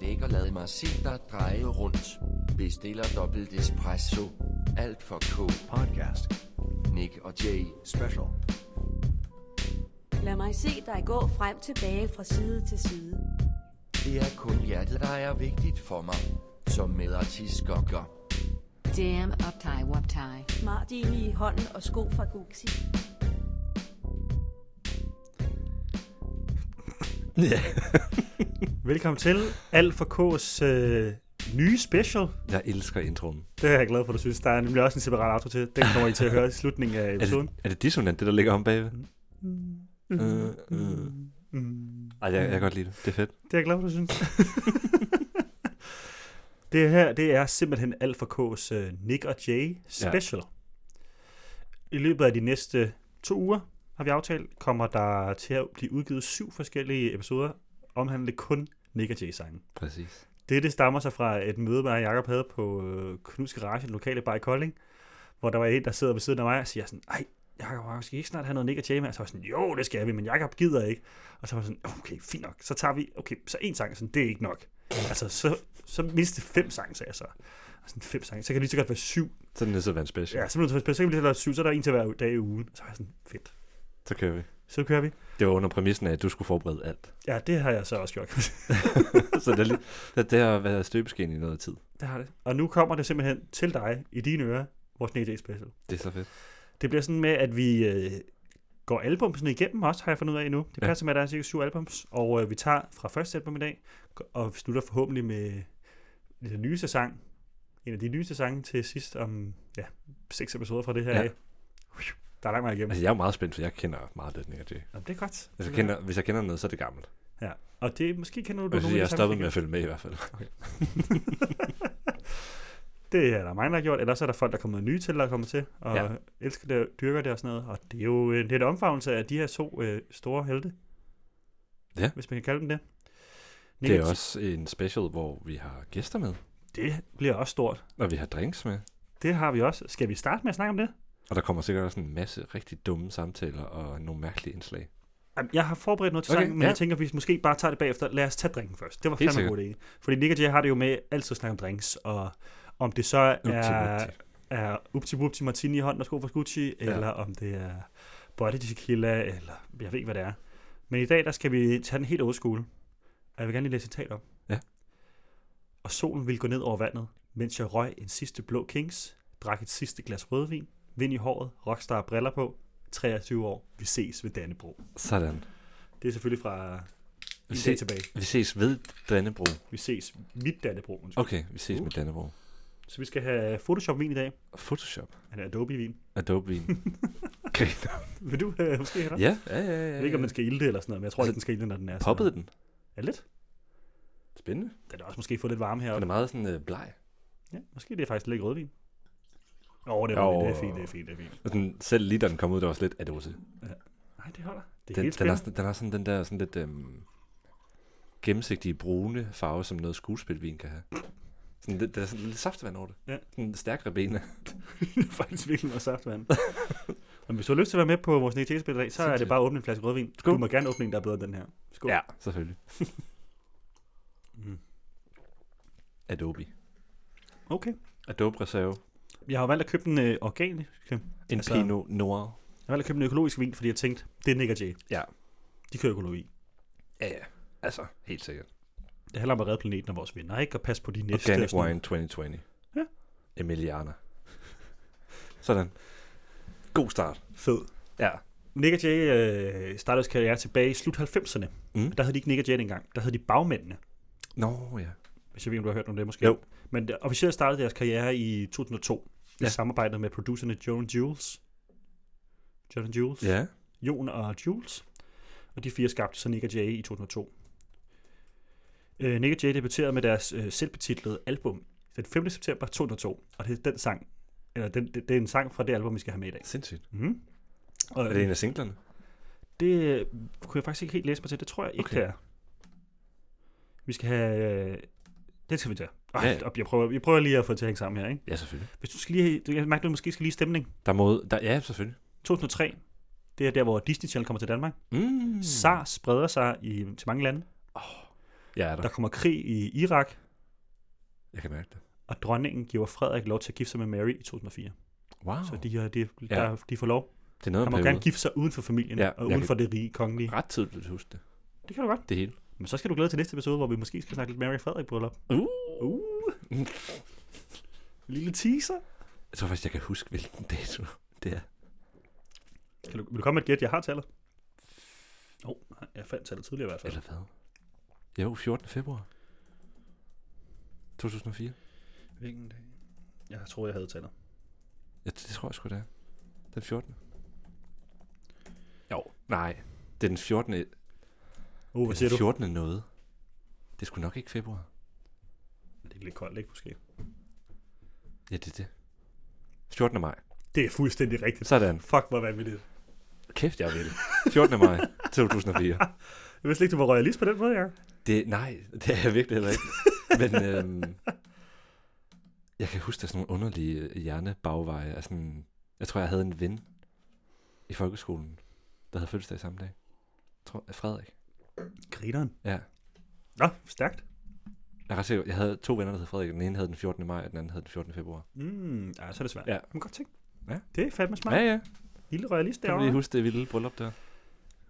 lækker lad mig se dig dreje rundt. Bestiller dobbelt espresso. Alt for K. Podcast. Nick og Jay. Special. Lad mig se dig gå frem tilbage fra side til side. Det er kun hjertet, der er vigtigt for mig. Som medartist gokker. Damn uptie wuptie. Martin i hånden og sko fra Gucci. Velkommen til Alt for K's øh, nye special. Jeg elsker introen. Det er jeg glad for, du synes. Der er nemlig også en separat outro til. Den kommer I til at høre i slutningen af Er episoden. det, er det dissonant, det der ligger om bagved? Mm. Ej, jeg, jeg kan godt lide det. Det er fedt. Mm. Det er jeg glad for, du synes. det her, det er simpelthen Alt for K's øh, Nick og Jay special. Ja. I løbet af de næste to uger, har vi aftalt, kommer der til at blive udgivet syv forskellige episoder, omhandlende kun Nick og Jay-sangen. Præcis. Det, det stammer sig fra et møde, med Jacob havde på øh, Knuds Garage, den lokale bar i Kolding, hvor der var en, der sidder ved siden af mig og siger sådan, ej, Jacob, skal I ikke snart have noget Nick og Jay med? Og så var jeg sådan, jo, det skal vi, men Jacob gider ikke. Og så var jeg sådan, okay, fint nok. Så tager vi, okay, så en sang, sådan, det er ikke nok. Altså, så, så mindst fem sange, sagde jeg så. Og sådan fem sange, så kan det lige så godt være syv. Så er det nødt til at være en special. Ja, så, bliver det så kan vi lige så godt være syv, så er der en til hver dag i ugen. Så var jeg sådan, fedt. Så kører vi. Så kører vi. Det var under præmissen af, at du skulle forberede alt. Ja, det har jeg så også gjort. så det, er lige- det, det har været støbeskeen i noget tid. det har det. Og nu kommer det simpelthen til dig i dine ører, vores Nick og Jay special. Det er så fedt. Det bliver sådan med, at vi øh, går albumsene igennem også, har jeg fundet ud af nu. Det Ja. passer med, at der er cirka syv albums, og øh, vi tager fra første album i dag, og vi slutter forhåbentlig med den nyeste sang, en af de nyeste sange til sidst om ja, seks episoder fra det her Ja. ja. af. Der er langt meget igennem. Altså, jeg er jo meget spændt, for jeg kender meget lidt Nick og Jay. Nå, men det er godt. Altså, jeg kender, hvis jeg kender noget, så er det gammelt. Ja. Og det måske kender du Jeg, synes, jeg af er de sange, stoppet vi med at følge med i hvert fald. Det er der mange, der har gjort. Ellers er der folk, der kommer nye til, der kommer til og ja. Ja. elsker det og dyrker det og sådan noget. Og det er jo en lidt omfavnelse af de her to øh, store helte. Ja. Hvis man kan kalde dem det. Det er også en special, hvor vi har gæster med, det bliver også stort. og vi har drinks med. Det har vi også. Skal vi starte med at snakke om det? Og der kommer sikkert også en masse rigtig dumme samtaler og nogle mærkelige indslag. Jamen, Jeg har forberedt noget til Okay, sangen, men ja. jeg tænker, at vi måske bare tager det bagefter. Lad os tage drinken først. Det var Helt fandme en god idé. Fordi Nick og Jay har det jo med altid at snakke om drinks, og om det så er, Upti-bupti. er upti bupti martini i hånden og sko fra Gucci, ja. eller om det er body tequila, eller jeg ved ikke, hvad det er. Men i dag, der skal vi tage den helt old school. Og jeg vil gerne lige læse et citat op. Ja. Og solen ville gå ned over vandet, mens jeg røg en sidste blå kings, drak et sidste glas rødvin, vind i håret, rockstar og briller på, 23 år, vi ses ved Dannebro. Sådan. Det er selvfølgelig fra Vi, en se, dag tilbage. vi ses ved Dannebro. Uh. Vi ses mit Dannebro. undskyld. Okay, vi ses med Dannebro. Så vi skal have Photoshop-vin i dag. Photoshop. Eller Adobe-vin. Adobe-vin. Griner. Vil du øh, måske have det? ja, ja, ja. ja, Jeg ved ikke, om den skal ilde det eller sådan noget, men jeg Altså, tror lidt, den skal ilde, når den er. sådan Poppede noget. den. Ja, lidt. Spændende. Den er også måske fået lidt varme Den heroppe. er meget sådan øh, bleg. Ja, måske det er faktisk lidt rødvin. Åh, oh, det, er Jo. rødvin. det er fint, det er fint, det er fint. Og den, selv lige da den kom ud, der var slet adose. Nej, det holder. Det er Den, helt den, har, spændende. sådan- den har sådan den der sådan lidt øhm, gennemsigtige brune farve, som noget skuespilvin kan have. Sådan, det, der er sådan lidt saftvand over det. Ja. Sådan en stærk rebene. Det er faktisk virkelig noget saftvand. Men hvis du har lyst til at være med på vores negativspil i dag, så er det bare at åbne en flaske rødvin. Skål. Du må gerne åbne en, der er bedre end den her. Skål. Ja, Mm. selvfølgelig. Adobe. Okay. Adobe Reserve. Jeg har jo valgt at købe den øh, organiske. En Altså- altså, Pinot Noir. Jeg har valgt at købe en økologisk vin, fordi jeg tænkte, det er Nick og Jay. Ja. De kører økologi. Ja, ja. Altså, helt sikkert. Det handler om at redde planeten og vores venner, ikke? Og passe på de næste. og Organic sådan noget. Wine 2020. Ja. Emiliana. Sådan. God start. Fed. Ja. Nick og Jay øh, startede deres karriere tilbage i slut 90'erne. Mm. Mm. Der hed de ikke Nick og Jay dengang. Der hed de Bagmændene. Nå, ja. Hvis jeg ved, om du har hørt om det måske. Jo. Men øh, officielt startede deres karriere i 2002. Ja. Ja. I samarbejde med producerne Joan Jules. Joan Jules. Ja. Jon og Jules. Og de fire skabte så Nick og Jay i 2002. Øh, Nick og Jay debuterede med deres øh, selvbetitlede album den 5. september 2002. Og det er den sang, eller den, det, det er en sang fra det album, vi skal have med i dag. Sindssygt. Mm. Og, Er det en af singlerne? Det øh, kunne jeg faktisk ikke helt læse mig til. Det tror jeg ikke, Okay. okay. det er. Vi skal have... øh, Det skal vi tage. Ej, Ja, ja. ja. op, jeg, prøver, jeg prøver lige at få det til at hænge sammen her. Ikke? Ja, selvfølgelig. Hvis du skal lige, du- jeg mærker, du måske skal lige stemning. Der må, der, ja, selvfølgelig. 2003, det er der, hvor Disney Channel kommer til Danmark. Mm. Mm. SARS spreder sig i, til mange lande. Oh. Jeg er der. Der kommer krig i Irak, Jeg kan mærke det. og dronningen giver Frederik lov til at gifte sig med Mary i 2004. Wow. Så de, har- de, der, de får lov. det er noget Han om må gerne periode. gifte sig uden for familien Ja, ja, og jeg uden kan- for det rige kongelige. Ret tidligt huske det. Det kan du godt. Det hele. Men så skal du glæde dig til næste episode, hvor vi måske skal snakke lidt Mary og Frederik bryllup. Uh. Uh. Lille teaser. Jeg tror faktisk, jeg kan huske, hvilken dato det er. Kan du, vil du komme med et gæt? Jeg har tallet. Åh, oh, nej, jeg fandt tallet tidligere i hvert fald. Eller hvad? Jo, 14. februar. 2004. Hvilken dag? Jeg tror, jeg havde tallet. Ja, det, det tror jeg sgu, det er. Den 14. Jo, nej. Det er den 14. Det Uh, er hvad siger den du? 14. noget. Det er sgu nok ikke februar. Det er lidt koldt, ikke måske? Ja, det er det. 14. maj. Det er fuldstændig rigtigt. Sådan. Fuck, hvor vanvittigt. Kæft, jeg vil. 14. maj 2004. Jeg vidste ikke, du var royalist på den måde, Jacob. Det, nej, det er jeg virkelig heller ikke. Men øhm, jeg kan huske, der er sådan nogle underlige øh, hjernebagveje. Altså, sådan- jeg tror, jeg havde en ven i folkeskolen, der havde fødselsdag samme dag. Jeg tror, Frederik. Grineren. Ja. Nå, stærkt. Jeg, er ret sikker, jeg havde to venner, der hed Frederik. Den ene havde den 14. maj, og den anden havde den 14. februar. Mm, ja, så er det svært. Ja. Men godt ting. Ja. Det er fandme smart. Ja, Ja. ja. Lille royalist Kan du lige derovre. huske det vilde bryllup der?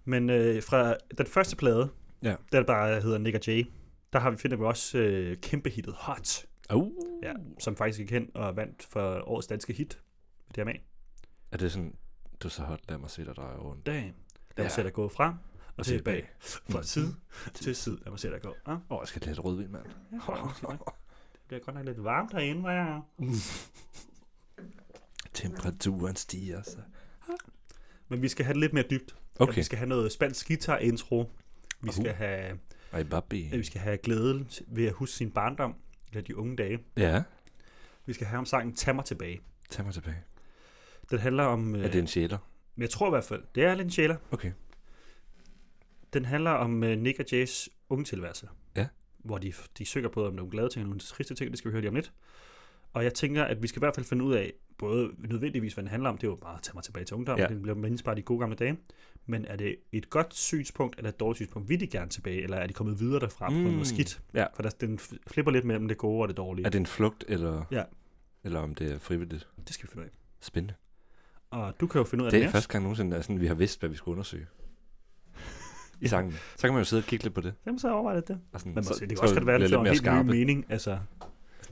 Men øh, fra den første plade, Ja. der bare hedder Nick og Jay, der har vi, finder vi også øh, kæmpe hittet Hot, Uh. ja, som faktisk gik hen og vandt for årets danske hit med DMA. Er det sådan, du er så hot, lad mig se dig dreje rundt. Damn. Lad Ja. mig se dig gå frem og tilbage. Fra Mm. side til side. Lad mig se dig gå. Ah, Åh, jeg skal have lidt rødvin, mand. det bliver godt nok lidt varmt herinde, var jeg. Temperaturen stiger, så. Men vi skal have det lidt mere dybt. Okay. Uh-huh. Vi skal have noget spansk guitar-intro. Vi skal, Uhu. have, Ej, babi. vi skal have glæden til- ved at huske sin barndom, eller de unge dage. Ja, Vi skal have om sangen Tag mig tilbage. tag mig tilbage. Den handler om... Øh, Er det en sjæler? Men jeg tror i hvert fald, det er lidt en sjæler. Okay. Den handler om øh, Nick og Jays unge tilværelse. Ja. Hvor de, de søger på, om nogle glade ting og nogle triste ting, det skal vi høre lige om lidt. Og jeg tænker, at vi skal i hvert fald finde ud af, både nødvendigvis, hvad den handler om, det er jo bare at tage mig tilbage til ungdommen, Ja. ja. det bliver mindes bare de gode gamle dage, men er det et godt synspunkt, eller et dårligt synspunkt, vil de gerne tilbage, eller er de kommet videre derfra mm. på Mm, noget skidt? ja. For der, den f- flipper lidt mellem det gode og det dårlige. Er det en flugt, eller, Ja. eller om det er frivilligt? det skal vi finde ud af. Spændende. Og du kan jo finde ud af Det det er første gang nogensinde, at sådan, vi har vidst, hvad vi skulle undersøge. I sangen. Så kan man jo sidde og kigge lidt på det. Jamen så overvej lidt det. Og sådan, Men så, så, det kan så også godt være, at bliver det får en lidt mere helt skarpe. ny mening. Altså,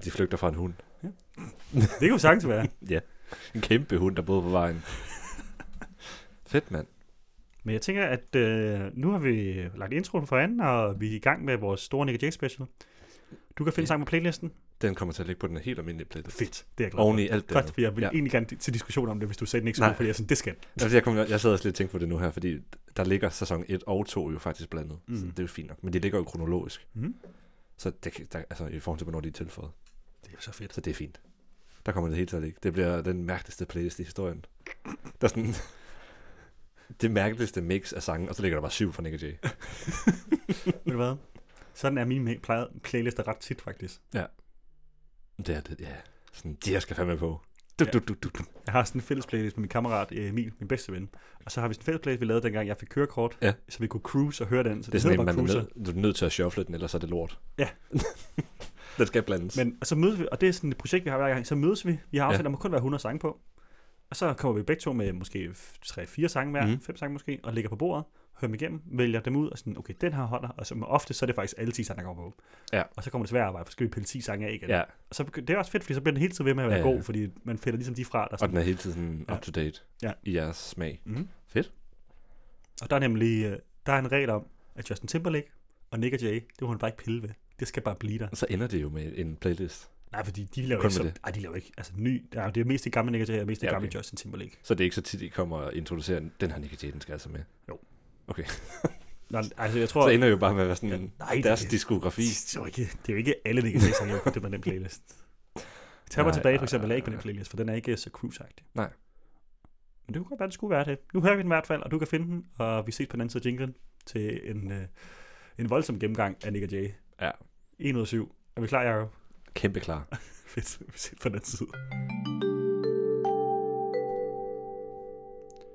De flygter fra en hund. det kan jo sagtens være. En kæmpe hund, der boede på vejen. Fedt, mand. Men jeg tænker, at øh, nu har vi lagt introen for anden, og vi er i gang med vores store Nick Jake special. Du kan Ja. finde yeah. sang på playlisten. Den kommer til at ligge på den helt almindelige playlist. Fedt, det er jeg glad Oven for. i alt det. Godt, for jeg vil Ja. ja. egentlig gerne til diskussion om det, hvis du sagde den ikke så Nej. godt, fordi jeg er sådan, det skal. Altså, jeg, kom, jeg sad også lidt og tænkte på det nu her, fordi der ligger sæson 1 og 2 jo faktisk blandet. Mm. Så Mm. det er jo fint nok. Men det ligger jo kronologisk. Mm. Så det, kan- der, altså, i forhold til, hvornår de er tilføjet. Det er jo så fedt. Så det er fint. Der kommer det helt taget ikke. Det bliver den mærkeligste playlist i historien. Der er sådan... det mærkeligste mix af sange, og så ligger der bare syv fra Nick J. Ved du hvad? Sådan er mine play- playlister ret tit, faktisk. Det er det, ja. Sådan, de her skal fandme på. Du, Ja. du, du, du, du. Jeg har sådan en fælles playlist med min kammerat øh, Emil, min bedste ven. Og så har vi sådan en fælles playlist, vi lavede dengang, jeg fik kørekort, Ja. så vi kunne cruise og høre den. Det Så er det, sådan en, hedder man bare er cruiser. nødt, du er nødt til at shuffle den, ellers er det lort. Ja. den skal blandes. Men, Men og så mødes vi, og det er sådan et projekt, vi har hver gang, så mødes vi. Vi har aftalt, Ja. at der må kun være 100 sange på. Og så kommer vi begge to med måske 3-4 sange hver, Mhm. 5 sange måske, og ligger på bordet, hører dem igennem, vælger dem ud, og sådan, okay, den her holder, og så men ofte, så er det faktisk alle 10 sange, der kommer på. Ja. Og så kommer det svært arbejde, for så skal vi pille 10 sange af igen. ja, Og så begy- det er også fedt, fordi så bliver den hele tiden ved med at være Ja, ja, ja. god, fordi man fælder ligesom de fra, der og den sådan. er hele tiden sådan Ja. up to date Ja. i jeres smag. Mhm. Fedt. Og der er nemlig øh, der er en regel om, at Justin Timberlake og Nick og Jay, det må han bare ikke pille ved. Det skal bare blive der. Og så ender det jo med en playlist. Nej, fordi de laver Kun ikke, med så, det. ej, de laver ikke, altså ny, der er- det er mest det gamle Nick og Jay, og mest det Ja, gamle okay. Justin Timberlake. Så det er ikke så tit, I kommer og introducerer, den her Nick J, den skal altså med. Nå, altså, jeg tror, Så ender det jo bare med at være sådan en, nej, det- deres diskografi. Det er jo ikke, det er jo ikke alle Nick Cage sange, der er på den playlist. Tag mig Nej, tilbage for nej, eksempel er nej, ikke på den nej. playlist, for den er ikke så cruise-agtig. Nej. Men det kunne godt være, det skulle være det. Nu hører vi den i hvert fald, og du kan finde den, og vi ses på den anden side af jinglen til en, øh, en voldsom gennemgang af Nick Jay. Ja, 1 ud af 7. Er vi klar, Jacob? kæmpe klar. Fedt, vi ses på den anden side.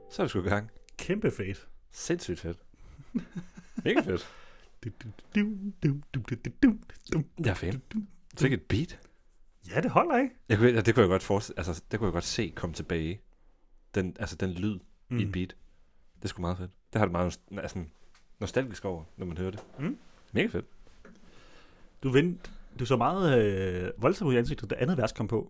Så er vi sgu i gang. Kæmpe fedt. Sindssygt fedt. Mega fedt. Jeg er fan. Så ikke et beat. Ja, det holder, ikke? Jeg kunne, det kunne jeg godt forestille, altså, det kunne jeg godt se komme tilbage. Den, altså den lyd mm. i et beat. Det er sgu meget fedt. Det har det meget nost- altså, nostalgisk over, når man hører det. Mm. Mega fedt. Du vendte du så meget øh, voldsomt ud i ansigtet, da andet vers kom på.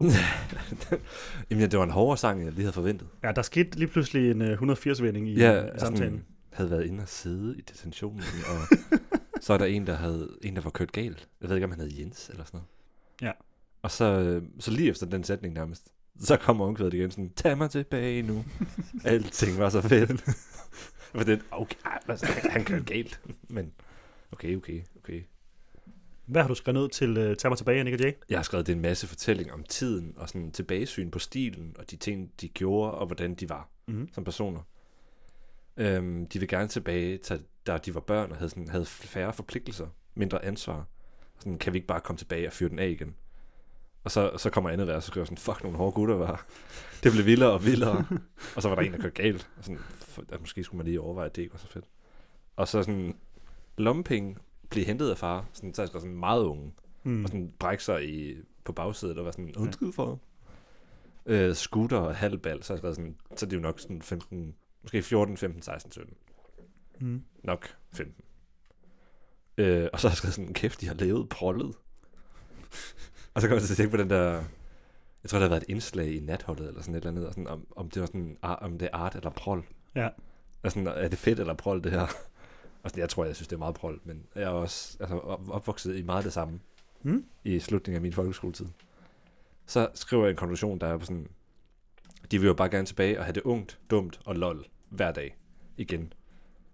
Jamen, ja, det var en hårdere sang, end jeg lige havde forventet. Ja, der skete lige pludselig en øh, 180-vending i, i samtalen. havde været inde og sidde i detentionen, og så er der en, der, havde, en, der var kørt galt. Jeg ved ikke, om han hed Jens eller sådan noget. Ja. Og så, øh, så lige efter den sætning nærmest, så kommer omkvædet igen sådan, tag mig tilbage nu. Alting var så fedt. For den, okay, ej, altså, han- han kørte galt. Men okay, okay, okay. Hvad har du skrevet ned til øh, Tag mig tilbage, Nick og Jay? Jeg har skrevet det er en masse fortælling om tiden, og sådan tilbagesyn på stilen, og de ting, de gjorde, og hvordan de var Mhm. som personer. Øhm, de vil gerne tilbage til, da de var børn, og havde, sådan, havde færre forpligtelser, mindre ansvar. Og Sådan, kan vi ikke bare komme tilbage og fyre den af igen? Og så, så kommer andet vers, og så skriver jeg sådan, fuck, nogle hårde gutter var. Det blev vildere og vildere. og så var der en, der kørte galt. Og sådan, "Fuck, at måske skulle man lige overveje, at det ikke var så fedt. Og så sådan, lommepenge blev hentet af far, sådan, så er jeg skrevet sådan meget unge Mm. og sådan brække sig i, på bagsædet og være sådan, undskyld for. Øh, scooter og halvbal, så, er jeg skrevet sådan, så er det jo nok sådan 15, måske 14, 15, 16, 17. Mm. Nok 15. Øh, og så har jeg skrevet sådan, kæft, de har levet prollet. og så kommer jeg til at tænke på den der, jeg tror, der har været et indslag i natholdet, eller sådan et eller andet, og sådan, om, om det var sådan, ar- om det er art eller prol. Ja. Og sådan, er det fedt eller prol, det her? Og sådan, jeg tror, jeg synes, det er meget prol, men jeg er også altså, op- opvokset i meget det samme Mm. i slutningen af min folkeskoletid. Så skriver jeg en konklusion, der er på sådan, de vil jo bare gerne tilbage og have det ungt, dumt og lol hver dag igen.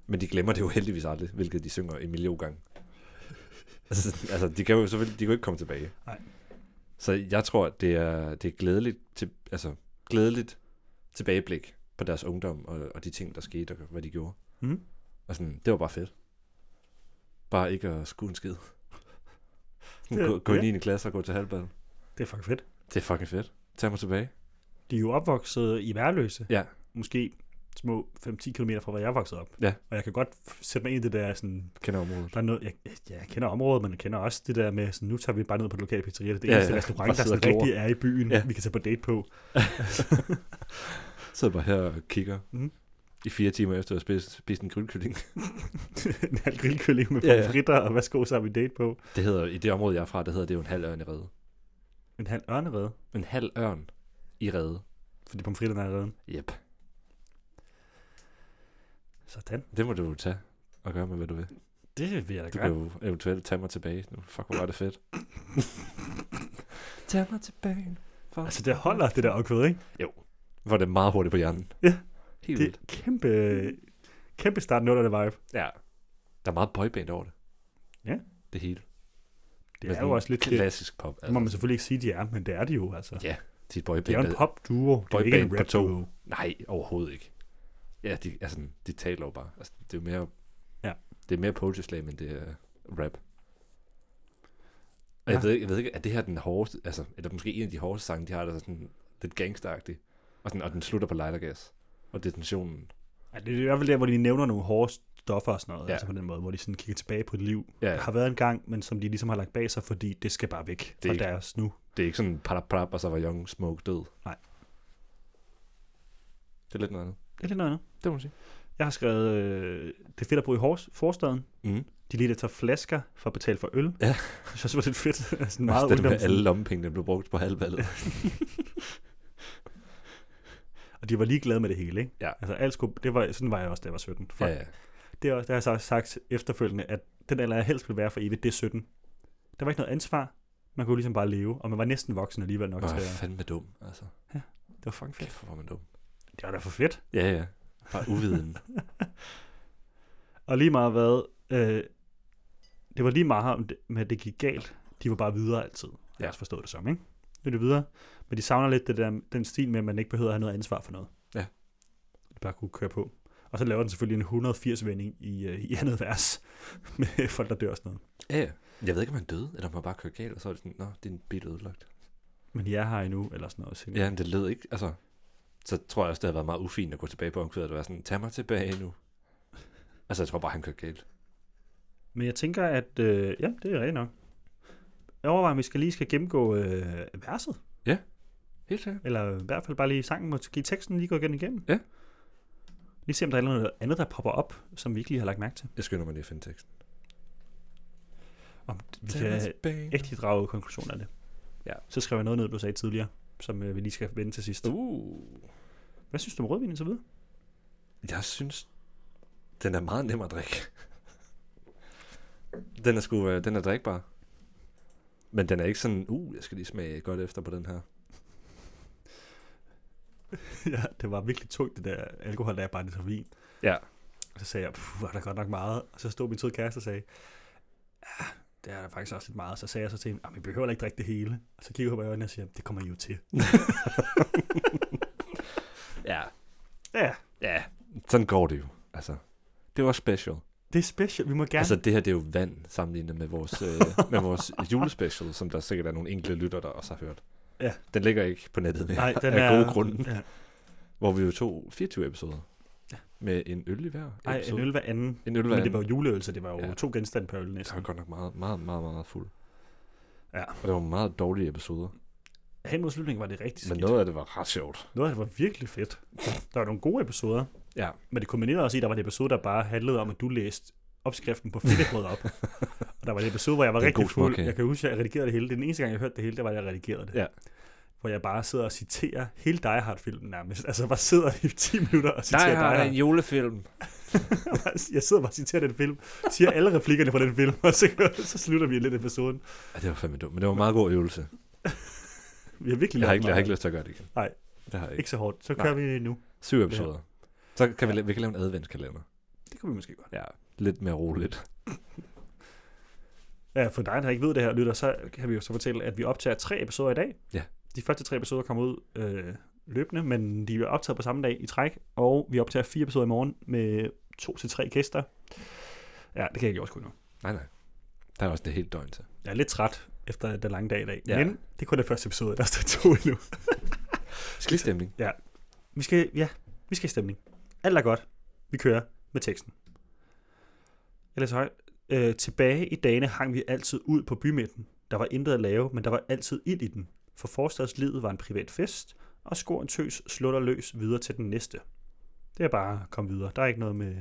Men de glemmer det jo heldigvis aldrig, hvilket de synger en million gange. altså, sådan, altså, de kan jo selvfølgelig, de kan jo ikke komme tilbage. Nej. Så jeg tror, at det er, det er glædeligt, til, altså, glædeligt tilbageblik på deres ungdom og, og de ting, der skete og hvad de gjorde. Mm. Og sådan, det var bare fedt. Bare ikke at skue en skid. Ja, Sådan, gå, gå i ja. 9. klasse og gå til halvbad. Det er fucking fedt. Det er fucking fedt. Tag mig tilbage. De er jo opvokset i værløse. Ja. Måske små 5-10 km fra, hvor jeg er vokset op. Ja. Og jeg kan godt f- sætte mig ind i det der sådan, Kender området. Der er noget, jeg, ja, jeg kender området, men jeg kender også det der med, sådan, nu tager vi bare ned på den lokale pizzeria. Det er det Ja, ja, eneste ja. ja. Bare restaurant, der sidde og sådan glor. rigtig er i byen, Ja. ja. vi kan tage på date på. Sidder bare her og kigger. Mm. Mhm. I fire timer efter at spise, spise en grillkylling. en halv grillkylling med Ja, ja. ja, fritter, og værsgo, så har vi date på. Det hedder, i det område, jeg er fra, det hedder det jo en halv ørn i redde. En halv ørnerede, En halv ørn i redde. fordi pomfritterne er redden. Yep. Sådan. Det må du jo tage og gøre med, hvad du vil. Det vil jeg Du da kan gøre. jo eventuelt tage mig tilbage. Nu, fuck, hvor var det fedt. Tag mig tilbage. nu. Fuck. Altså, det holder det der okvæd, ikke? Var det meget hurtigt på hjernen. Ja. Helt Det er vildt. et kæmpe, kæmpe start nullerne vibe. Ja. Der er meget boyband over det. Ja. Det hele. Det Men er jo sådan også lidt det. Klassisk pop. altså. Det må man selvfølgelig ikke sige, de er, men det er de jo, altså. Ja, de er et Det er boyband. jo en pop duo, det er boyband ikke en på rap to. duo. Nej, overhovedet ikke. Ja, de, altså, de taler jo bare. Altså, det er jo mere... Ja. Det er mere poetry slam, end det er rap. Og jeg, Ja. ved, ikke- jeg ved ikke, er det her den hårdeste, altså, eller måske en af de hårdeste sange, de har, der er sådan lidt gangsteragtig. Og, sådan, og den slutter på lightergas. Og detentionen. Ja, det er i hvert fald der, hvor de nævner nogle hårde stoffer og sådan noget, Ja. ja. altså på den måde, hvor de sådan kigger tilbage på et liv, Ja, der har været en gang, men som de ligesom har lagt bag sig, fordi det skal bare væk er det fra ikke- deres nu. Det er ikke sådan parap parap, og så var Young Smoke død. Nej. Det er lidt noget andet. Det er lidt noget andet. Det må man sige. Jeg har skrevet, øh, det er fedt at bo i hors- forstaden. Mm. De lige der tager flasker for at betale for øl. Ja. Det synes jeg også var lidt fedt. sådan Meget meget den med ungdoms. alle lommepenge, Altså, der blev brugt på halvballet. Og de var ligeglade med det hele, ikke? Ja. Altså, alt skulle, det var, sådan var jeg også, da jeg var 17. Fuck. ja, Ja. ja. Det er også, der har jeg så sagt efterfølgende, at den alder, jeg helst ville være for evigt, det er 17. Der var ikke noget ansvar. Man kunne ligesom bare leve, og man var næsten voksen alligevel nok Nå, til jeg er at... fandme dum, altså. Det var fucking fedt. Kæft, hvor var man dum. Det var da for fedt. Ja, ja. Bare uviden. Og lige meget hvad, øh, det var lige meget om det, med, at det gik galt. De var bare videre altid. Ja. Jeg også forstået det som, ikke? Nu er det videre. Men de savner lidt det der, den stil med, at man ikke behøver at have noget ansvar for noget. Ja. De bare kunne køre på. Og så laver den selvfølgelig en 180-vending i, øh, i andet vers med folk, der dør og sådan noget. ja, ja. Jeg ved ikke, om han døde, eller om han bare kørte galt, og så er det sådan, nå, din bil er ødelagt. Men jeg er her endnu, eller sådan noget. Ja, men det lød ikke, altså. Så tror jeg også, det havde været meget ufint at gå tilbage på omkvædet og være sådan, tag mig tilbage nu. Altså, jeg tror bare, han kørte galt. Men jeg tænker, at... Øh, ja, det er rigtigt nok. Jeg overvejer, om vi skal lige skal gennemgå øh, verset. Helt sikkert. Eller i hvert fald bare lige sangen. Måske teksten lige gå igen igennem. Ja. Lige se, om der er noget andet, der popper op, som vi ikke lige har lagt mærke til. Jeg skynder mig lige at finde teksten. Om vi kan Baner. ikke lige drage konklusioner af det. Ja. Så skrev jeg noget ned, du sagde tidligere, som øh, vi lige skal vende til sidst. Uh. Hvad synes du om rødvinen så videre? Jeg synes, den er meget nem at drikke. den er sgu, øh, den er drikbar. Men den er ikke sådan, uh, jeg skal lige smage godt efter på den her. ja, det var virkelig tungt, det der alkohol, der er bare lidt for vin. Ja. Og så sagde jeg, puh, er der godt nok meget. Og så stod min søde kæreste og sagde, ja, det er der faktisk også lidt meget. Så sagde jeg så til hende, "Ah, men vi behøver da ikke drikke det hele. Og så kigger hun på mig i øjnene og siger, det kommer I jo til. Ja. Ja, Ja. Sådan går det jo. Altså, det var special. Ja. det er special, vi må gerne. Altså, det her, det er jo vand sammenlignet med vores, øh, med vores julespecial, som der sikkert er nogle enkelte lytter, der også har hørt. Ja. Den ligger ikke på nettet mere, Nej, den af er... gode grunde. Ja. Hvor vi jo tog 24 episoder. Ja. Med en øl i hver Ej, en episode. øl hver anden. en øl hver Men det var anden. jo juleøl, så det var jo Ja. ja. to genstande per øl Jeg næsten. var godt nok meget, meget, meget, meget fuld. Ja. Og det var meget dårlige episoder. Hen mod slutningen var det rigtig Men skidt. noget af det var ret sjovt. Noget af det var virkelig fedt. Der var nogle gode episoder, Ja. men det kombinerede også i, at der var en episode, der bare handlede om, at du læste opskriften på fedtebrød op. og der var en episode, hvor jeg var Det er rigtig god fuld. småkage. Jeg kan huske, at jeg redigerede det hele. Det er Den eneste gang, jeg hørte det hele, det var, at jeg redigerede det. Ja. Hvor jeg bare sidder og citerer hele Die Hard-filmen nærmest. Altså bare sidder i 10 minutter og citerer Nej, Die har Hard. en julefilm. Jeg sidder bare og citerer den film, siger alle replikkerne fra den film, og så, så slutter vi lidt episoden. Ja, det var fandme dumt, men det var en meget god øvelse. Vi har virkelig Jeg har, lært ikke, jeg har meget. ikke lyst til at gøre det igen. Nej. Det har jeg ikke. ikke så hårdt. Så kører vi nu. Syv episoder. Så kan vi, la- vi kan lave en adventskalender. Det kunne vi måske godt. Ja. Lidt mere roligt. Ja, for dig, der ikke ved det her, lytter, så kan vi jo så fortælle, at vi optager tre episoder i dag. Ja. De første tre episoder kommer ud øh, løbende, men de er optaget på samme dag i træk, og vi optager fire episoder i morgen med to til tre gæster. Ja, det kan jeg ikke også kunne nu. Nej, nej. Der er også det hele døgn til. Jeg er lidt træt efter den lange dag i dag, Ja. ja. men det er kun det første episode, der står to endnu. Skidstemning. Vi skal, ja, vi skal i stemning. Alt er godt. Vi kører med teksten. Ellers højt. Øh, tilbage i dagene hang vi altid ud på bymidten. Der var intet at lave, men der var altid ild i den. For forstadslivet var en privat fest, og skoren tøs slutter løs videre til den næste. Det er bare at komme videre. Der er ikke noget med...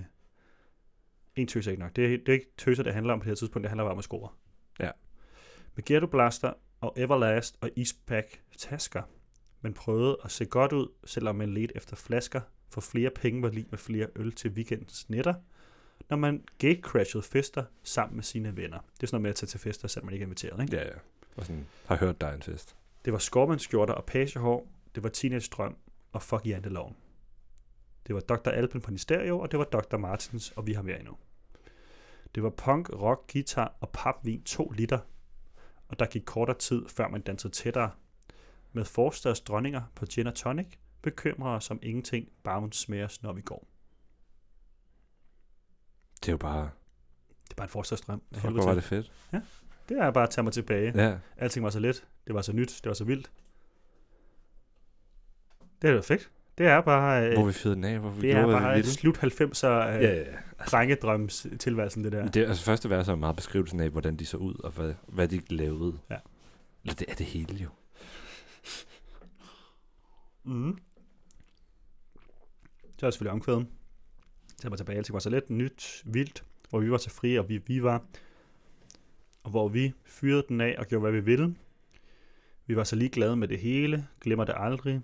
En tøs er ikke nok. Det er, det er ikke tøser, det handler om på det her tidspunkt. Det handler bare om at score. Ja. Med Ghetto Blaster og Everlast og Eastpack tasker men prøvede at se godt ud, selvom man ledte efter flasker, for flere penge var lige med flere øl til weekendens netter, når man gatecrashede fester sammen med sine venner. Det er sådan noget med at tage til fester, selvom man ikke er inviteret, ikke? Ja, ja. Og sådan, har hørt dig en fest. Det var skormandskjorter og pagehår, det var teenage drøm og fuck janteloven. Det var Dr. Alpen på Nisterio, og det var Dr. Martens, og vi har mere endnu. Det var punk, rock, guitar og papvin 2 liter, og der gik kortere tid, før man dansede tættere. Med forstads dronninger på gin og tonic, bekymrer os om ingenting, bare hun smager os, når vi går. Det er jo bare... Det er bare en forstadsdrøm. af Fuck, helvede hvor var til. det fedt. det er bare at tage mig tilbage. Ja. Alting var så let, det var så nyt, det var så vildt. Det er perfekt. Det er bare... øh, Hvor vi fyrede den af, hvor vi Det er gjorde, hvad vi bare et ville. slut 90'er øh, Ja, yeah. ja, ja. drengedrøms tilværelsen, det der. Det, altså første vers er jo meget beskrivelsen af, hvordan de så ud, og hvad, hvad de lavede. Ja. Eller det er det hele jo. Mm. Så er der selvfølgelig omkvæden. Så var tilbage, alting var så let, nyt, vildt, hvor vi var så frie, og vi, vi var, og hvor vi fyrede den af og gjorde, hvad vi ville. Vi var så ligeglade med det hele, glemmer det aldrig.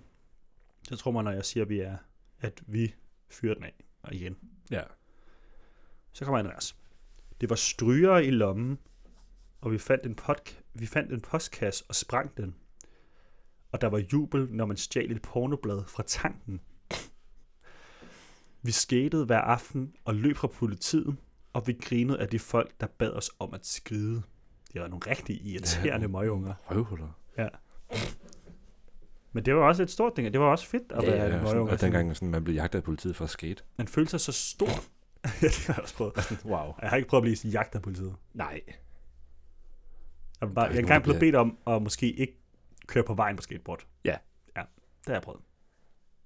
Så tror man, når jeg siger, at vi er, at vi fyrede den af og igen. Ja. Så kommer en vers. Det var stryger i lommen, og vi fandt, en podk- vi fandt en postkasse og sprang den. Og der var jubel, når man stjal et pornoblad fra tanken. Vi skatede hver aften og løb fra politiet, og vi grinede af de folk, der bad os om at skride. Det var nogle rigtig irriterende møgunger. Røvhuller. Men det var også et stort ting, og det var også fedt at ja, være ja, en og sådan, møgunger. og dengang sådan, man blev jagtet af politiet for at skate. Man følte sig så stor. ja, det har jeg også prøvet. Wow. Jeg har ikke prøvet at blive jagtet af politiet. Nej. Jeg, vil bare, Der er jeg er ikke engang nogen, der blevet bedt om at måske ikke køre på vejen på skateboard. Ja. Ja, det har jeg prøvet.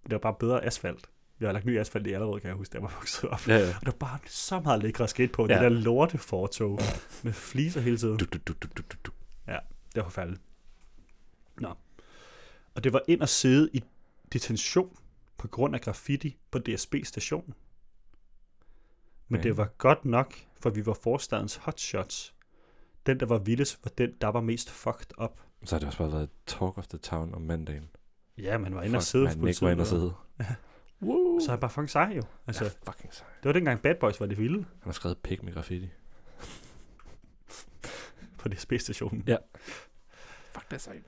Det var bare bedre asfalt. Vi har lagt ny asfalt i allerede, kan jeg huske, da jeg var vokset op. Ja, ja. Og der var bare så meget lækre skridt på. Ja. Ja. Det der lorte fortog med fliser hele tiden. Du, du, du, du, du, du, du. Det var forfærdeligt. Nå. Og det var ind og sidde i detention på grund af graffiti på DSB station. Men Ja. det var godt nok, for vi var forstadens hotshots. Den, der var vildest, var den, der var mest fucked up. Så har det også bare været talk of the town om mandagen. Ja, man var inde og Fuck, sidde hos man, Nick var inde og sidde. Woo! Så er han bare fucking sej jo. Altså, Ja, ja. fucking sej. Det var dengang Bad Boys var det vilde Han har skrevet pik med graffiti. på DSB-stationen. Ja. Fuck, det er sejt.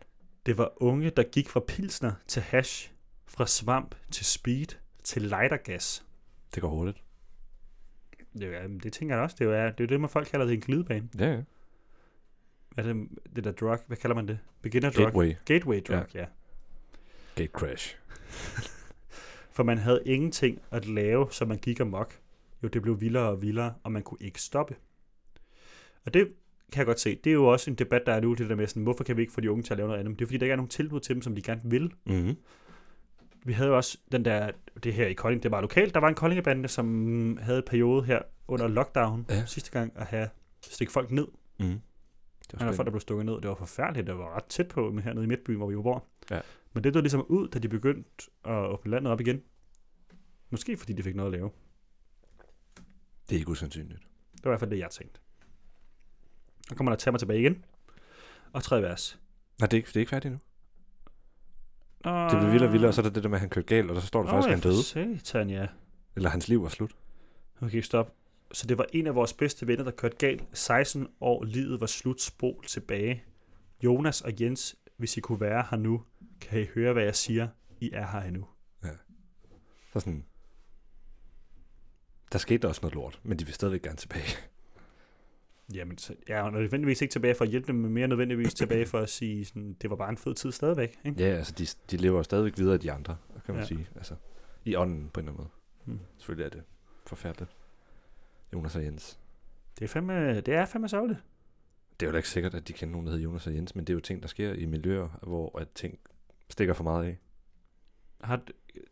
Det var unge, der gik fra pilsner til hash, fra svamp til speed til lightergas. Det går hurtigt. Det, er, det tænker jeg da også. Det er, jo- det er jo det, man folk kalder det en glidebane. Ja, ja. Hvad er det, det der drug? Hvad kalder man det? Beginner drug? Gateway. Gateway drug, ja. ja. Gate crash. For man havde ingenting at lave, så man gik amok. Jo, det blev vildere og vildere, og man kunne ikke stoppe. Og det kan jeg godt se. Det er jo også en debat, der er nu, det der med sådan, hvorfor kan vi ikke få de unge til at lave noget andet? Men det er fordi, der ikke er nogen tilbud til dem, som de gerne vil. Mm-hmm. Vi havde jo også den der, det her i Kolding, det var lokalt, der var en koldingebande, som havde en periode her under lockdown ja. Ja. sidste gang at have stikke folk ned. Mm. Det var Han er folk, der spændende. blev stukket ned. Det var forfærdeligt. Det var ret tæt på men hernede i Midtbyen, hvor vi jo bor. Ja. Men det døde ligesom ud, da de begyndte at åbne landet op igen. Måske fordi de fik noget at lave. Det er ikke usandsynligt. Det var i hvert fald det, jeg tænkte. Nu kommer der tage mig tilbage igen. Og tredje vers. Nej, det er ikke, det er ikke færdigt endnu. Og... Det blev vildere og vildere, og så er der det der med, at han kørte galt, og så står der faktisk, at han døde. Satan, ja. Eller hans liv var slut. Okay, stop. Så det var en af vores bedste venner, der kørte galt. 16 år, livet var slut, spol tilbage. Jonas og Jens, hvis I kunne være her nu, kan I høre, hvad jeg siger. I er her endnu. Så sådan... Der skete der også noget lort, men de vil stadigvæk gerne tilbage. Jamen, så jeg er jo nødvendigvis ikke tilbage for at hjælpe dem, men mere nødvendigvis tilbage for at sige, sådan, det var bare en fed tid stadigvæk. Ikke? Ja, altså de, de lever jo stadigvæk videre de andre, kan man Ja. ja. sige. Altså, I ånden på en eller anden måde. Mm. Mm. Selvfølgelig er det forfærdeligt. Jonas og Jens. Det er fandme, det er fandme sørgeligt. Det er jo da ikke sikkert, at de kender nogen, der hedder Jonas og Jens, men det er jo ting, der sker i miljøer, hvor at ting stikker for meget af. Har,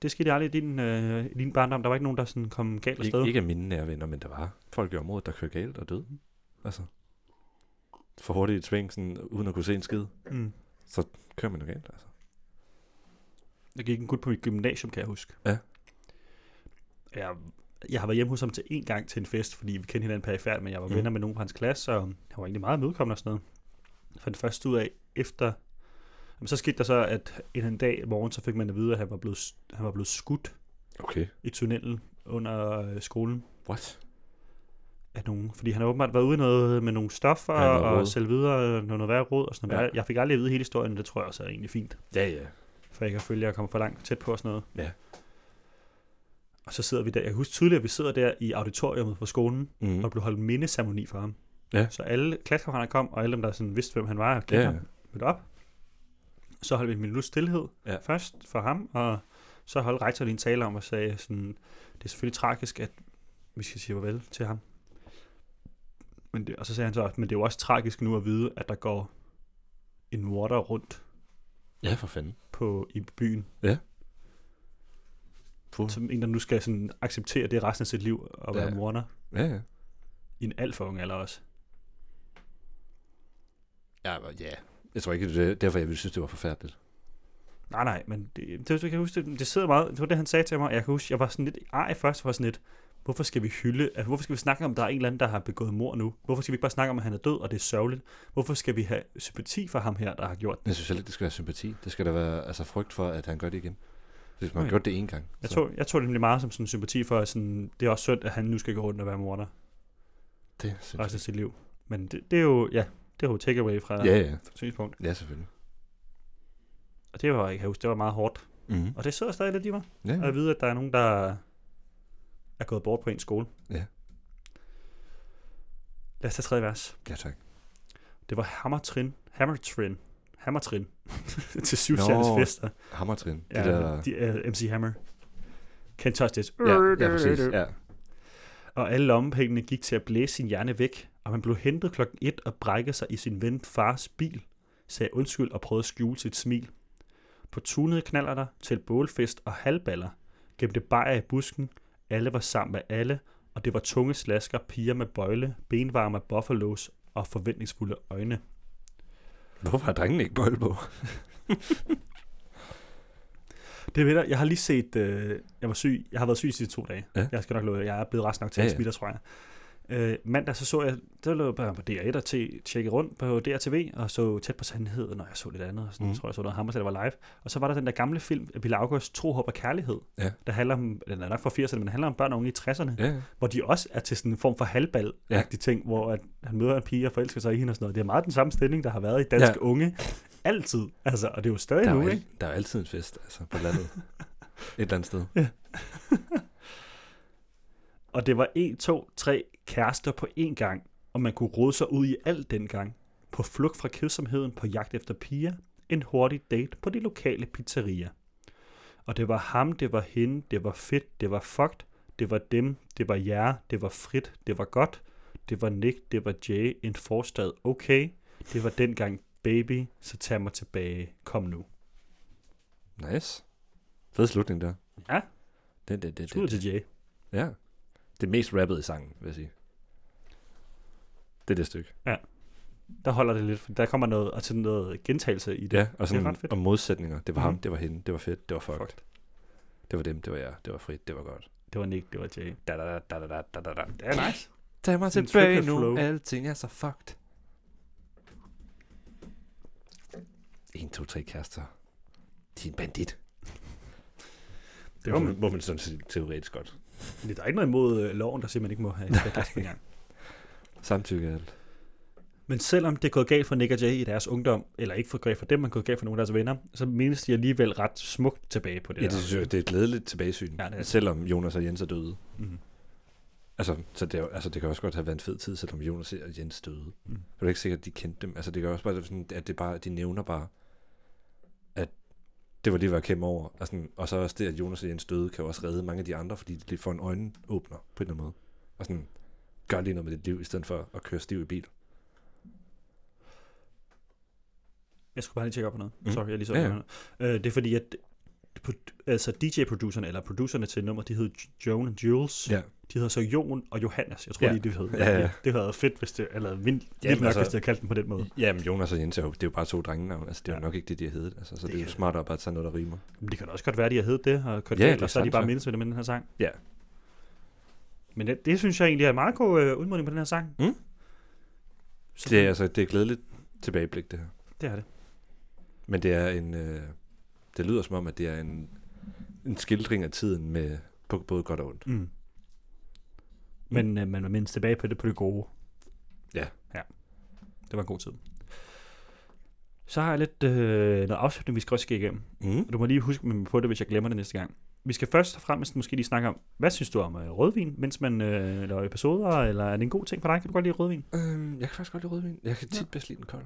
det skete aldrig i din, øh, i din barndom. Der var ikke nogen, der sådan kom galt af Ik- sted. ikke af mine nære venner, men der var folk i området, der kørte galt og døde. Altså, for hurtigt i et sving, sådan, uden at kunne se en skid, Mm. kører man jo galt. Altså. Der gik en gut på mit gymnasium, kan jeg huske. Ja. Jeg, jeg har været hjemme hos ham til en gang til en fest, fordi vi kendte hinanden perifært, men jeg var mm. Mm. venner med nogen fra hans klasse, og han var egentlig meget imødekommende og sådan noget. Jeg fandt først ud af, efter... Jamen, så skete der så, at en, en dag i morgen, så fik man at vide, at han var blevet, han var blevet skudt Okay. i tunnelen under øh, skolen What? af nogen. Fordi han har åbenbart været ude i noget med nogle stoffer Ja, noget og rod. selv videre øh, noget, noget værre råd og sådan noget. Ja. Ja. Jeg fik aldrig at vide hele historien, og det tror jeg også er egentlig fint. Ja, ja. For jeg kan følge, at jeg kommer for langt tæt på og sådan noget. Ja. Og så sidder vi der. Jeg kan huske tydeligt, at vi sidder der i auditoriumet på skolen, mm. Mm. og der blev holdt mindesamoni for ham. Ja. Så alle klassekammeraterne kom, og alle dem, der sådan vidste, hvem han var, og kendte Ja. ja. ham, mødte op. Så holdt vi en minut stillhed Ja. først for ham, og så holdt rektor lige en tale om og sagde, sådan, det er selvfølgelig tragisk, at vi skal sige farvel til ham. Men det, og så sagde han så, men det er jo også tragisk nu at vide, at der går en morder rundt Ja, for fanden. på, i byen, Puh. som en, der nu skal sådan acceptere det resten af sit liv og være Ja. ja. morder Ja, ja. i en alt for ung alder også. Ja, men ja. Jeg tror ikke, det er derfor, jeg ville synes, det var forfærdeligt. Nej, nej, men det, det, det, jeg kan huske, det, det sidder meget, det var det, han sagde til mig, og jeg kan huske, jeg var sådan lidt ej først, var sådan lidt, hvorfor skal vi hylde, altså, hvorfor skal vi snakke om, at der er en eller anden, der har begået mor nu? Hvorfor skal vi ikke bare snakke om, at han er død, og det er sørgeligt? Hvorfor skal vi have sympati for ham her, der har gjort det? Jeg synes heller ikke, det skal være sympati. Det skal da være altså, frygt for, at han gør det igen. Hvis man Okay. har gjort det en gang. Jeg så- tog, jeg tog det nemlig meget som sådan en sympati for, at sådan, det er også synd, at han nu skal gå rundt og være morder Det synes jeg. resten af sit liv. Men det, det er jo, ja, det er jo takeaway fra Ja, yeah. ja. synspunkt. Ja, selvfølgelig. Og det var, jeg kan huske, det var meget hårdt. Mm-hmm. Og det sidder stadig lidt i mig. Ja, Og at vide, at der er nogen, der er gået bort på en skole. Ja. Lad os tage tredje vers. ja, tak. Det var Hammertrin. Hammertrin. Hammertrin. til syvstjernes Nå, fester. Hammertrin. Ja, Ja, det der... de, uh, MC Hammer. Can't touch this. Ja, ja, præcis. Ja. Og alle lommepengene gik til at blæse sin hjerne væk, og man blev hentet klokken 1 og brækkede sig i sin ven fars bil, sagde undskyld og prøvede at skjule sit smil. På tunede knaller der til bålfest og halvballer, gemte bajer i busken, alle var sammen med alle, og det var tunge slasker, piger med bøjle, benvarme af buffalos og forventningsfulde øjne. Hvorfor har drengen ikke bøjle på? Det ved jeg, jeg har lige set, øh, jeg var syg, jeg har været syg de sidste to dage. Ja. Ja. Jeg skal nok love, jer, jeg er blevet rask nok til Ja, at ja. smitte, tror jeg. Øh, mandag så så jeg, der lå jeg bare på DR1 og t- tjekkede rundt på DRTV, og så tæt på sandheden, og jeg så lidt andet, og sådan, Mhm. mm. tror jeg så noget Hammers, der var live. Og så var der den der gamle film, af Pille August, Tro, Håb og Kærlighed, Ja. der handler om, den er nok fra 80'erne, men den handler om børn og unge i 60'erne, Ja, ja. hvor de også er til sådan en form for halvbal ja. ting, hvor at han møder en pige og forelsker sig i hende og sådan noget. Det er meget den samme stilling, der har været i danske Ja. ja. unge altid, altså, og det er jo stadig Der, er nu, jo ikke? al- der er jo altid en fest altså, på landet. Et eller andet sted. Og det var 1, 2, 3 kærester på én gang, og man kunne rode sig ud i alt dengang. På flugt fra kedsomheden på jagt efter piger, en hurtig date på de lokale pizzeria. Og det var ham, det var hende, det var fedt, det var fucked, det var dem, det var jer, det var frit, det var godt, det var Nick, det var Jay, en forstad, okay, det var dengang baby, så tag mig tilbage, kom nu. Nice. Fed slutning der. Ja. Det, det, det, Skud det, til Jay. ja. det mest rappede i sangen, vil jeg sige. Det er det stykke. Der holder det lidt, for der kommer noget, og til noget gentagelse i det. Ja, og sådan ret fedt. og modsætninger. Det var ham, Mhm. det var hende, det var fedt, det var fucked. Fucked. Det var dem, det var jeg, det var frit, det var godt. Det var Nick, det var Jay. Da, da, da, da, da, da, da, da. Det er nice. Tag mig Sådan en tilbage triple nu, flow. alting er så fucked. 1, 2, 3 kærester. De er en bandit. Det var man, må man sådan sige teoretisk godt. Men Der er ikke noget imod øh, loven, der siger, man ikke må have en podcast engang. Samtykke er alt. Men selvom det er gået galt for Nick og Jay i deres ungdom, eller ikke for galt for dem, men gået galt for nogle af deres venner, så mindes de alligevel ret smukt tilbage på det Ja, der. det, synes jeg, det er et glædeligt tilbagesyn, Ja, det er det. selvom Jonas og Jens er døde. Mhm. Altså, så det, er, jo- altså, det kan også godt have været en fed tid, selvom Jonas og Jens døde. Mm. Mm. For det er ikke sikkert, at de kendte dem. Altså, det kan også bare være sådan, at det bare, de nævner bare, at det var lige, hvad jeg kæmpe over. Og, sådan, og så også det, at Jonas og Jens døde, kan jo også redde mange af de andre, fordi det får en øjenåbner på en eller anden måde. Og sådan, gør lige noget med dit liv, i stedet for at køre stiv i bil. Jeg skulle bare lige tjekke op på noget. Mm. Sorry, jeg lige så Ja, ja, ja. Øh, Det er fordi, at pro- altså DJ-producerne, eller producerne til nummer, de hed Joan og Jules. Ja. De hedder så Jon og Johannes. Jeg tror Ja. lige, det hed. Ja, ja. Det havde været fedt, hvis det, eller vildt, vildt Jamen, nok, altså- altså, hvis de havde kaldt den på den måde. Ja, men Jonas og Jens er jo, det er jo bare to drengenavne. Altså, det er jo Ja. nok ikke det, de har heddet. Altså, så det, det er kan- jo smartere bare at tage noget, der rimer. Men det kan da også godt være, de har heddet det, og kørt Ja, det ja, galt, er og så er de sagtens, bare ja. mindes ved det med den her sang. Ja. Men det, det synes jeg egentlig er en meget god øh, udmodning på den her sang. Mm. Så, Det er altså det er et glædeligt tilbageblik, det her. det er det. Men det er en... Øh, det lyder som om, at det er en, en skildring af tiden med på både godt og ondt. Mm. Men øh, man var mindst tilbage på det, på det gode. Ja. ja. Det var en god tid. Så har jeg lidt øh, noget afslutning, vi skal også skal igennem. Mm. Og du må lige huske mig på det, hvis jeg glemmer det næste gang. Vi skal først og fremmest måske lige snakke om, hvad synes du om øh, rødvin, mens man øh, laver episoder, eller er det en god ting for dig? Kan du godt lide rødvin? Øhm, jeg kan faktisk godt lide rødvin. Jeg kan tit ja. bedst lide den kold.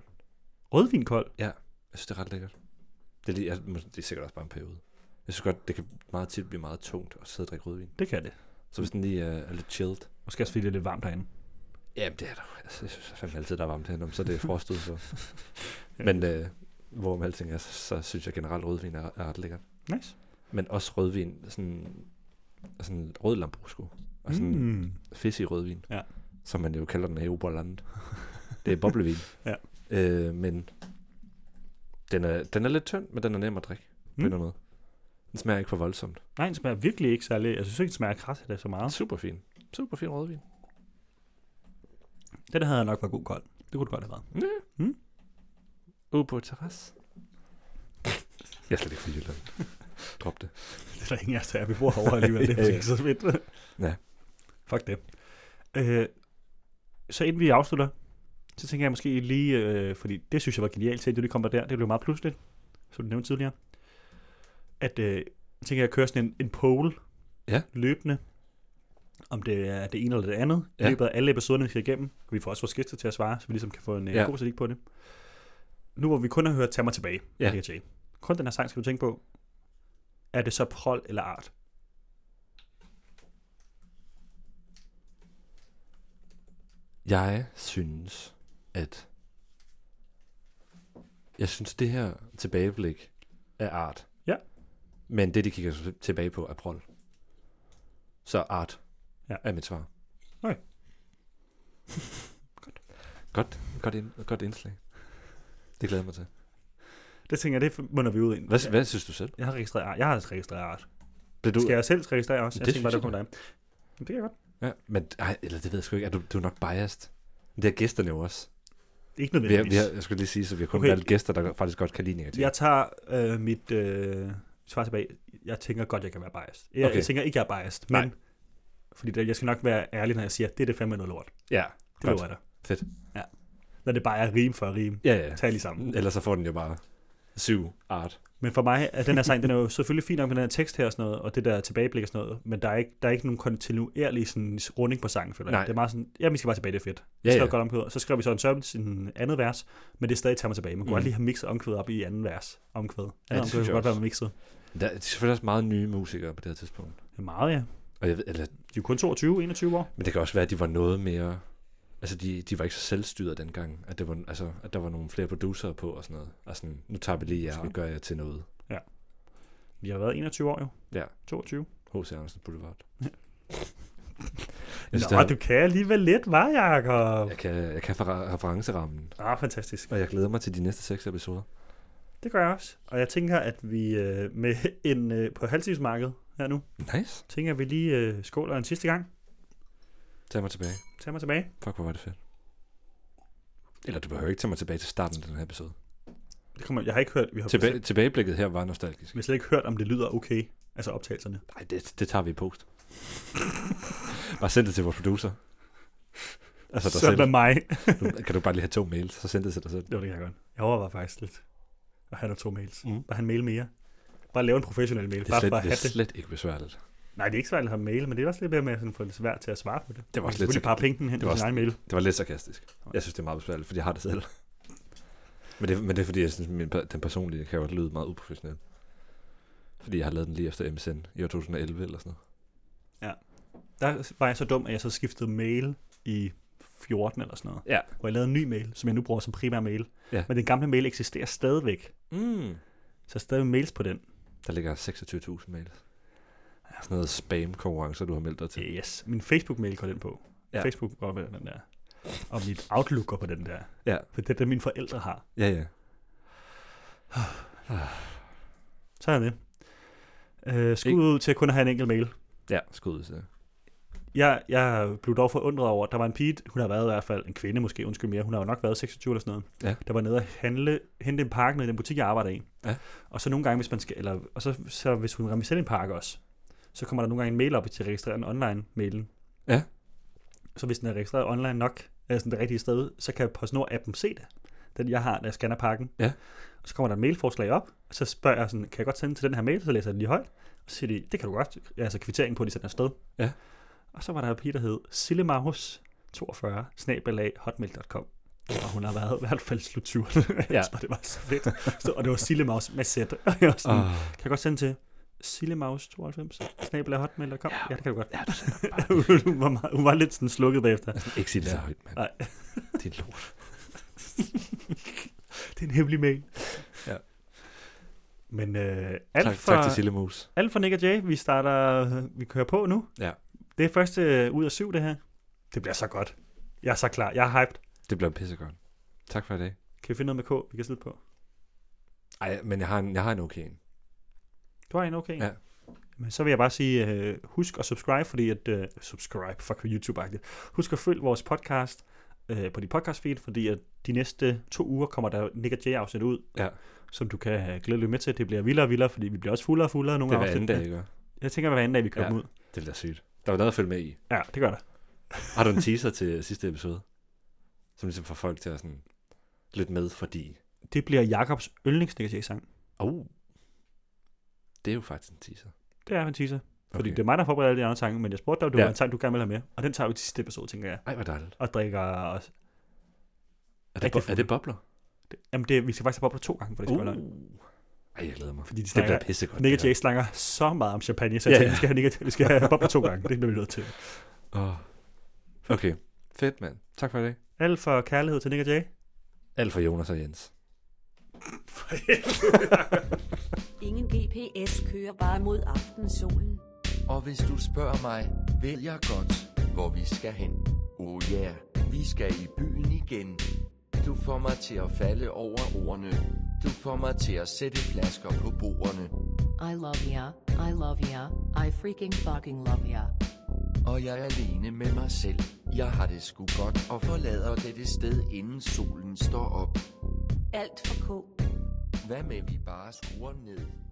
Rødvin kold? Jeg synes, det er ret lækkert. Det er, lige, jeg, må- det er sikkert også bare en periode. Jeg synes godt, det kan meget tit blive meget tungt at sidde og drikke rødvin. Det kan det. Så hvis den lige er, er lidt chilled. Måske også fordi det er lidt varmt herinde. Jamen, det er der. jo. Altså, jeg synes fandme altid, der er varmt herinde, om så er det er frost udenfor. Men øh, hvorom alting er, så, så synes jeg generelt, rødvin er, er ret lækkert. Nice. Men også rødvin, sådan, sådan rød lambrusco. Og sådan, mm. Mm. fissig rødvin, Ja. som man jo kalder den her i Oberland. Det er boblevin. Ja. Øh, men den er, den er lidt tynd, men den er nem at drikke mm. på en Mm. eller anden måde. Den smager ikke for voldsomt. Nej, den smager virkelig ikke særlig. altså, Jeg synes ikke, den smager kras af det så meget. Super fin. Super fin rødvin. Den havde nok været god kold. Det kunne du godt have været. Ude på et terrasse. Jeg er slet ikke fra Jylland. Drop det. Det er der ingen af os, der er. Vi bor herovre alligevel. Det Ja, er ja. ikke så fedt. Ja. Fuck det. Øh, så inden vi afslutter, så tænker jeg måske lige, øh, fordi det synes jeg var genialt til, at du lige kom der, det blev meget pludseligt, som du nævnte tidligere, at øh, jeg tænker jeg at køre sådan en, en poll Ja. løbende, om det er det ene eller det andet, i Ja. løbet af alle episoderne, vi skal igennem. Vi får også vores gæster til at svare, så vi ligesom kan få en Ja. ja. god statistik på det. Nu hvor vi kun har hørt Tag mig tilbage, Ja. ja. Jay. kun den her sang skal du tænke på, er det så prol eller art? Jeg synes, at... Jeg synes, det her tilbageblik er art. Ja. Men det, de kigger tilbage på, er prol. Så art Ja. ja. er mit svar. Okay. godt. Godt, godt, ind, godt indslag. Det glæder jeg mig til. Det tænker jeg, det munder vi ud i. Hvad, ja. hvad synes du selv? Jeg har registreret art. Jeg har registreret art. Blev du, Skal jeg selv registrere også? Jeg Det tænker bare, det synes kommer jeg dig. Jamen, Det kan jeg godt. Ja, men ej, eller det ved jeg sgu ikke. Er du, du er nok biased. Men Det er gæsterne jo også. Ikke Vi har, nødvendigvis. vi har, jeg skulle lige sige, så vi har kun Okay. okay. valgt gæster, der faktisk godt kan lide negativt. Jeg tager øh, mit øh, svar tilbage. Jeg tænker godt, jeg kan være biased. Jeg, okay. Okay. jeg tænker ikke, jeg er biased, men... Nej. Nej. Fordi der, jeg skal nok være ærlig, når jeg siger, det er det fandme noget lort. Ja, Det Godt. lover jeg dig. fedt. Når det bare er rim for rim. Ja, ja. Tag lige sammen. Mm. Ellers så får den jo bare syv art. Men for mig er den her sang, den er jo selvfølgelig fin nok med den her tekst her og sådan noget, og det der tilbageblik og sådan noget, men der er ikke, der er ikke nogen kontinuerlig sådan, runding på sangen, føler jeg. Nej. Det er meget sådan, ja, vi skal bare tilbage, det er fedt. Ja, så ja. godt omkvædet. Så skrev vi så en sørgelig sin andet vers, men det er stadig tager mig tilbage. Man kunne Mm. godt lige have mixet omkvædet op i anden vers. Omkvædet. Ja, det det synes kunne jeg godt også. være mixet. Der er selvfølgelig også meget nye musikere på det her tidspunkt. Det er meget, ja. Og jeg ved, eller, De er jo kun 22, 21 år. men det kan også være, at de var noget mere... Altså, de, de var ikke så selvstyret dengang, at, det var, altså, at der var nogle flere producerer på og sådan noget. Og sådan, nu tager vi lige jer og Måske. gør jer til noget. Vi har været 21 år jo. Ja. 22. H.C. Andersen Boulevard. Nå, jeg, synes, der, du kan alligevel lidt, var Jacob? jeg, kan, jeg kan fra referencerammen. Ah, fantastisk. Og jeg glæder mig til de næste seks episoder. Det gør jeg også. Og jeg tænker, at vi øh, med en øh, på halvtidsmarkedet her nu, Nice. tænker jeg, at vi lige øh, skåler en sidste gang. Tag mig tilbage. Tag mig tilbage. Fuck, hvor var det fedt. Eller du behøver ikke tage mig tilbage til starten af den her episode. Det kommer, jeg har ikke hørt, vi har, Tilbage, tilbageblikket her var nostalgisk. vi har slet ikke hørt, om det lyder okay, altså optagelserne. Nej, det, det tager vi i post. bare send det til vores producer. Altså dig Sådan selv. er mig. Du, kan du bare lige have to mails, så send det til dig selv. jo, det kan jeg godt. Jeg overvejer faktisk lidt at have nogle to mails. Mm. Mm. Bare have en mail mere. Bare lave en professionel mail. Det er bare slet, for at det have er det. slet ikke besværligt. Nej, det er ikke svært at have mail, men det er også lidt mere med at sådan få lidt svært til at svare på det. Det var Man også lidt kan selvfølgelig bare penge den hen det til var sin også- egen mail. Det var lidt sarkastisk. Jeg synes, det er meget besværligt, fordi jeg har det selv. Men det, men det er fordi, jeg synes, min, per- den personlige kan jo lyde meget uprofessionel. Fordi jeg har lavet den lige efter MSN i år 2011 eller sådan noget. Der var jeg så dum, at jeg så skiftede mail i 14 eller sådan noget. Ja. Hvor jeg lavede en ny mail, som jeg nu bruger som primær mail. Ja. Men den gamle mail eksisterer stadigvæk. Mm. Så jeg har stadig mails på den. Der ligger 26.000 mails. Sådan noget spam-konkurrencer, du har meldt dig til. Yes. Min Facebook-mail går den på. Ja. Ja. Facebook går på den der. Og mit Outlook går på den der. Ja. For det er det, mine forældre har. Ja, ja. Så er det. Øh, skud ud til kun at have en enkelt mail. Ja, skud så. Jeg, jeg blev dog forundret over, at der var en pige, hun har været i hvert fald en kvinde måske, undskyld mere, hun har jo nok været 26 eller sådan noget, Ja. der var nede og handle, hente en pakke nede i den butik, jeg arbejder i. Ja. Og så nogle gange, hvis man skal, eller, og så, så hvis hun rammer selv en pakke også, så kommer der nogle gange en mail op til at registrere en online-mailen. Ja. Så hvis den er registreret online nok, altså den det rigtige sted, så kan PostNord-appen se det. Den jeg har, når jeg scanner pakken. Ja. Og så kommer der et mailforslag op, og så spørger jeg sådan, kan jeg godt sende til den her mail, så læser jeg den lige højt. Og så siger de, det kan du godt, altså kvitteringen på, at de sender afsted. Ja. Og så var der en pige, der hed Sillemarhus 42 snabelag hotmail.com. Og hun har været i hvert fald slut 20'erne. Ja. Ja. det var så fedt. Så, og det var Sillemaus med sæt. Og jeg var sådan, Åh. kan jeg godt sende til Sillemaus 92 snabelag hotmail.com? Ja. ja, det kan du godt. Ja, du sender bare hun, var meget, hun var lidt sådan slukket bagefter. Ikke sige det så Ja. højt, mand. Nej. Det er lort. Det er en hemmelig mail. Ja. Men øh, alt, Tak, for, tak til Sillemus. alt for Nick og Jay. Vi starter, øh, vi kører på nu. Ja. Det er første øh, ud af syv, det her. Det bliver så godt. Jeg er så klar. Jeg er hyped. Det bliver pissegodt. Tak for i dag. Kan vi finde noget med K, vi kan slutte på? Ej, men jeg har en, jeg har en okay en. Du har en okay. en. Ja. Men så vil jeg bare sige, øh, husk at subscribe, fordi at, øh, subscribe, fuck YouTube-agtigt. Husk at følge vores podcast øh, på dit podcast feed, fordi at de næste to uger kommer der Nick og Jay afsnit ud, Ja. som du kan øh, glæde dig med til. Det bliver vildere og vildere, fordi vi bliver også fuldere og fuldere Det nogle er hver afsnit. anden dag, ikke? Jeg tænker, hver anden dag, vi kører Ja. ja. dem ud. Det bliver sygt. Der var noget at følge med i. Ja, det gør der. Har du en teaser til sidste episode? Som ligesom får folk til at sådan lytte med, fordi... Det bliver Jakobs yndlings Nick og Jay-sang. Oh. Det er jo faktisk en teaser. Det er en teaser. Fordi Okay. det er mig, der forbereder alle de andre sange, men jeg spurgte dig, om det Ja. var en sang, du gerne ville have med. Og den tager vi til sidste episode, tænker jeg. Ej, hvor dejligt. Og drikker også. Er det, Rigtig bo- er det bobler? Jamen, det, vi skal faktisk have bobler to gange, for Uh. det skal være løgn. Ej, jeg glæder mig. Fordi de Det snakker, bliver pissegodt. Nick det og her. Jay snakker så meget om champagne, så jeg Ja, ja, ja. tænker, vi skal have, Nick og, vi skal have Bob to gange. Det bliver vi nødt til. Åh. Okay. Fedt, mand. Tak for i dag. Alt for kærlighed til Nick og Jay. Alt for Jonas og Jens. Ingen GPS kører bare mod aftensolen. Og hvis du spørger mig, ved jeg godt, hvor vi skal hen. Oh ja, yeah, vi skal i byen igen. Du får mig til at falde over ordene. Du får mig til at sætte flasker på bordene. I love ya, I love ya, I freaking fucking love ya. Og jeg er alene med mig selv. Jeg har det sgu godt og forlader dette sted, inden solen står op. Alt for K. Hvad med vi bare skruer ned?